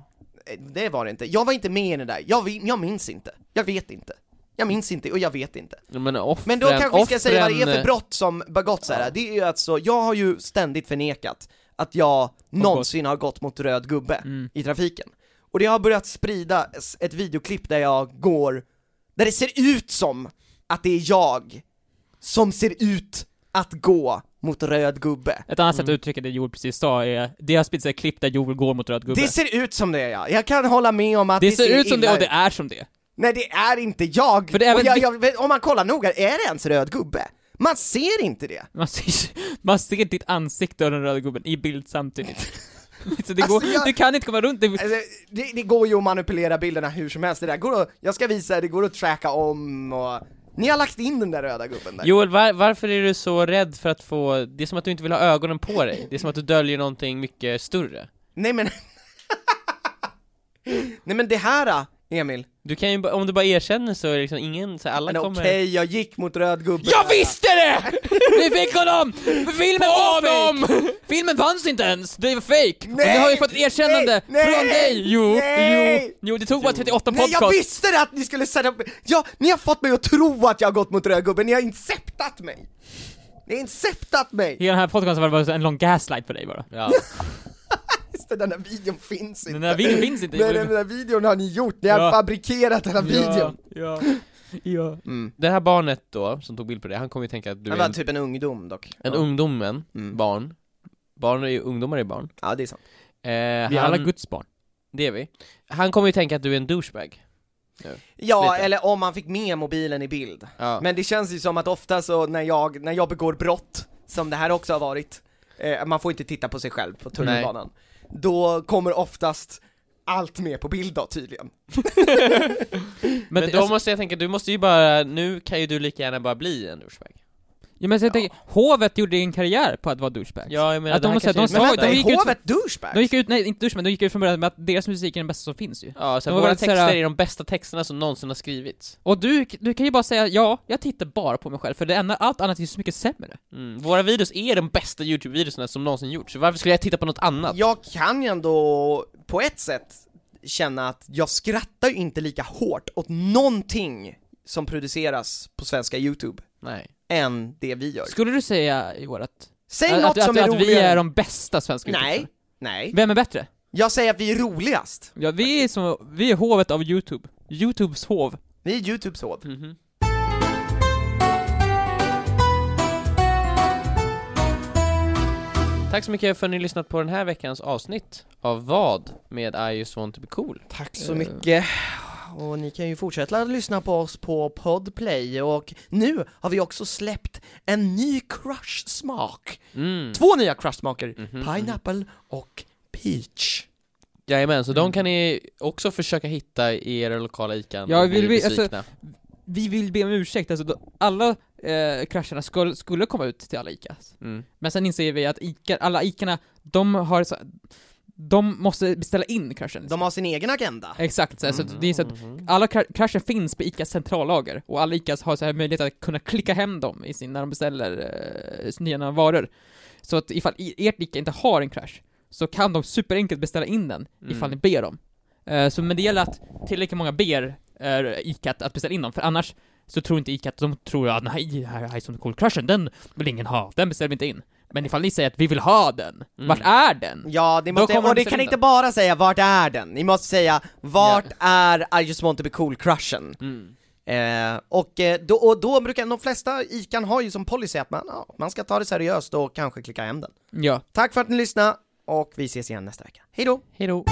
Eh, Det var det inte. Jag var inte med i det där. Jag, vi- jag minns inte. Jag vet inte. Jag minns inte och jag vet inte. Men, offren, Men då kanske vi ska säga vad det är offren- för brott som begåtts här. Ja. Det är ju alltså, jag har ju ständigt förnekat att jag någonsin har gått mot röd gubbe Mm. i trafiken. Och det har börjat sprida s- ett videoklipp där jag går, där det ser ut som att det är jag som ser ut att gå mot röd gubbe. Ett annat sätt att uttrycka det Joel precis sa är, det har spritts ett klipp där Joel går mot röd gubbe. Det Det, ser ut som det är jag, jag kan hålla med om att det, ser ut som illa det och det är som det. Nej det är inte jag! För det är och väl jag, vi- jag om man kollar noga, är det ens röd gubbe? Man ser inte det! Man ser, man ser ditt ansikte och den röda gubben i bild samtidigt. så det går, Alltså, jag- du kan inte komma runt det. Alltså, det, det går ju att manipulera bilderna hur som helst, det där går att, jag ska visa, det går att tracka om och... Ni har lagt in den där röda gubben där. Joel, var, varför är du så rädd för att få, det är som att du inte vill ha ögonen på dig, det är som att du döljer någonting mycket större. Nej men... Nej men det här Emil, Du kan ju, ba- om du bara erkänner så är det liksom ingen, så här, alla men okej kommer... jag gick mot röd gubbe Jag visste det! Vi fick honom! Filmen var fake! Filmen fanns inte ens, det var fake! Och Nej! nu har vi fått ett erkännande Nej! från dig! Jo, Nej! jo, jo, det tog bara 38 Nej jag podcasts. visste det att ni skulle sätta upp... Ja, ni har fått mig att tro att jag har gått mot röd gubbe, ni har inceptat mig! Ni har inceptat mig! Hela den här podcasten var bara så en lång gaslight på dig bara. Ja. Just det, den där videon finns inte. Den här videon finns inte. Nej, den där videon har ni gjort, ni har Ja. fabrikerat den här videon. Ja, ja. Mm. Det här barnet då, som tog bild på dig, han kommer ju tänka att du Han är var en, typ en ungdom dock. en ja. ungdomen, Mm. barn. Barn är ju, ungdomar är barn. Ja, det är sant. Eh, Vi är han, alla Guds barn. det är vi. Han kommer ju tänka att du är en douchebag. Ja, Lite. eller om man fick med mobilen i bild. Ja. Men det känns ju som att ofta så när jag, när jag begår brott, som det här också har varit, eh, man får inte titta på sig själv på tunnelbanan. Då kommer oftast allt med på bild då tydligen. Men, Men, då alltså, måste jag tänka, du måste ju bara, nu kan ju du lika gärna bara bli en douchebag. ja, men så jag tänker, hovet gjorde en karriär på att vara douchebags. Ja, jag menar, Att de det här måste- kanske de är- sa Men ju- vänta, de är gick ut- hovet De douchebags? gick ut, nej inte douchebag, de gick ut från början med att deras musik är den bästa som finns ju. Ja, så här, De var våra väldigt så här- texter är de bästa texterna som någonsin har skrivits. Och du, du kan ju bara säga ja, jag tittar bara på mig själv, för det enda, allt annat är ju så mycket sämre. Mm. Våra videos är de bästa YouTube-videorna som någonsin gjorts, så varför skulle jag titta på något annat? Jag kan ju ändå på ett sätt känna att jag skrattar ju inte lika hårt åt någonting som produceras på svenska youtube Nej. än det vi gör. Skulle du säga Joel att Säg att, något att, som att, är att vi roligare. är de bästa svenska Nej, youtubers. nej. Vem är bättre? Jag säger att vi är roligast. Ja, vi är, som, vi är hovet av youtube. Youtubes hov. Vi är Youtubes hov. Mhm. Tack så mycket för att ni har lyssnat på den här veckans avsnitt av Vad? Med I just want to be cool. Tack Eh. så mycket. Och ni kan ju fortsätta att lyssna på oss på Podplay och nu har vi också släppt en ny crush-smak. Mm. Två nya crush-smaker. Mhm. Pineapple och peach. Jajamän, så Mm. de kan ni också försöka hitta i era lokala ICA Ja, om ni vill är vi- alltså- besvikna. Vi vill be om ursäkt, alltså då, alla eh, krascherna skulle, skulle komma ut till alla ICAs. mm. Men sen inser vi att ICA, alla ICAna, de har så, de måste beställa in kraschen. De har sin egen agenda. Exakt, så, här, så Mm. det är så att Mhm. alla kra- kraschen finns på ICAs centrallager och alla ICAs har så här möjlighet att kunna klicka hem dem i sin, när de beställer eh, nya varor. Så att ifall i- ert ICA inte har en krasch så kan de superenkelt beställa in den ifall ni Mm. ber dem. Eh, så men det gäller att tillräckligt många ber eh, ICA att, att beställa in dem, för annars så tror inte ICA att de tror att nej, här är Ice on the Cool Crushen, den vill ingen ha, den beställer vi inte in. Men ifall ni säger att vi vill ha den, Mm. vart är den? Ja, det Då måste, kommer och de ni kan beställa inte bara säga vart är den? Ni måste säga vart är I just want to be cool-crushen? Mm. Eh, och, eh, då, och då brukar de flesta ICAn ha ju som policy att man, ja, man ska ta det seriöst och kanske klicka hem den. Ja. Tack för att ni lyssnade och vi ses igen nästa vecka. Hej då! Hejdå.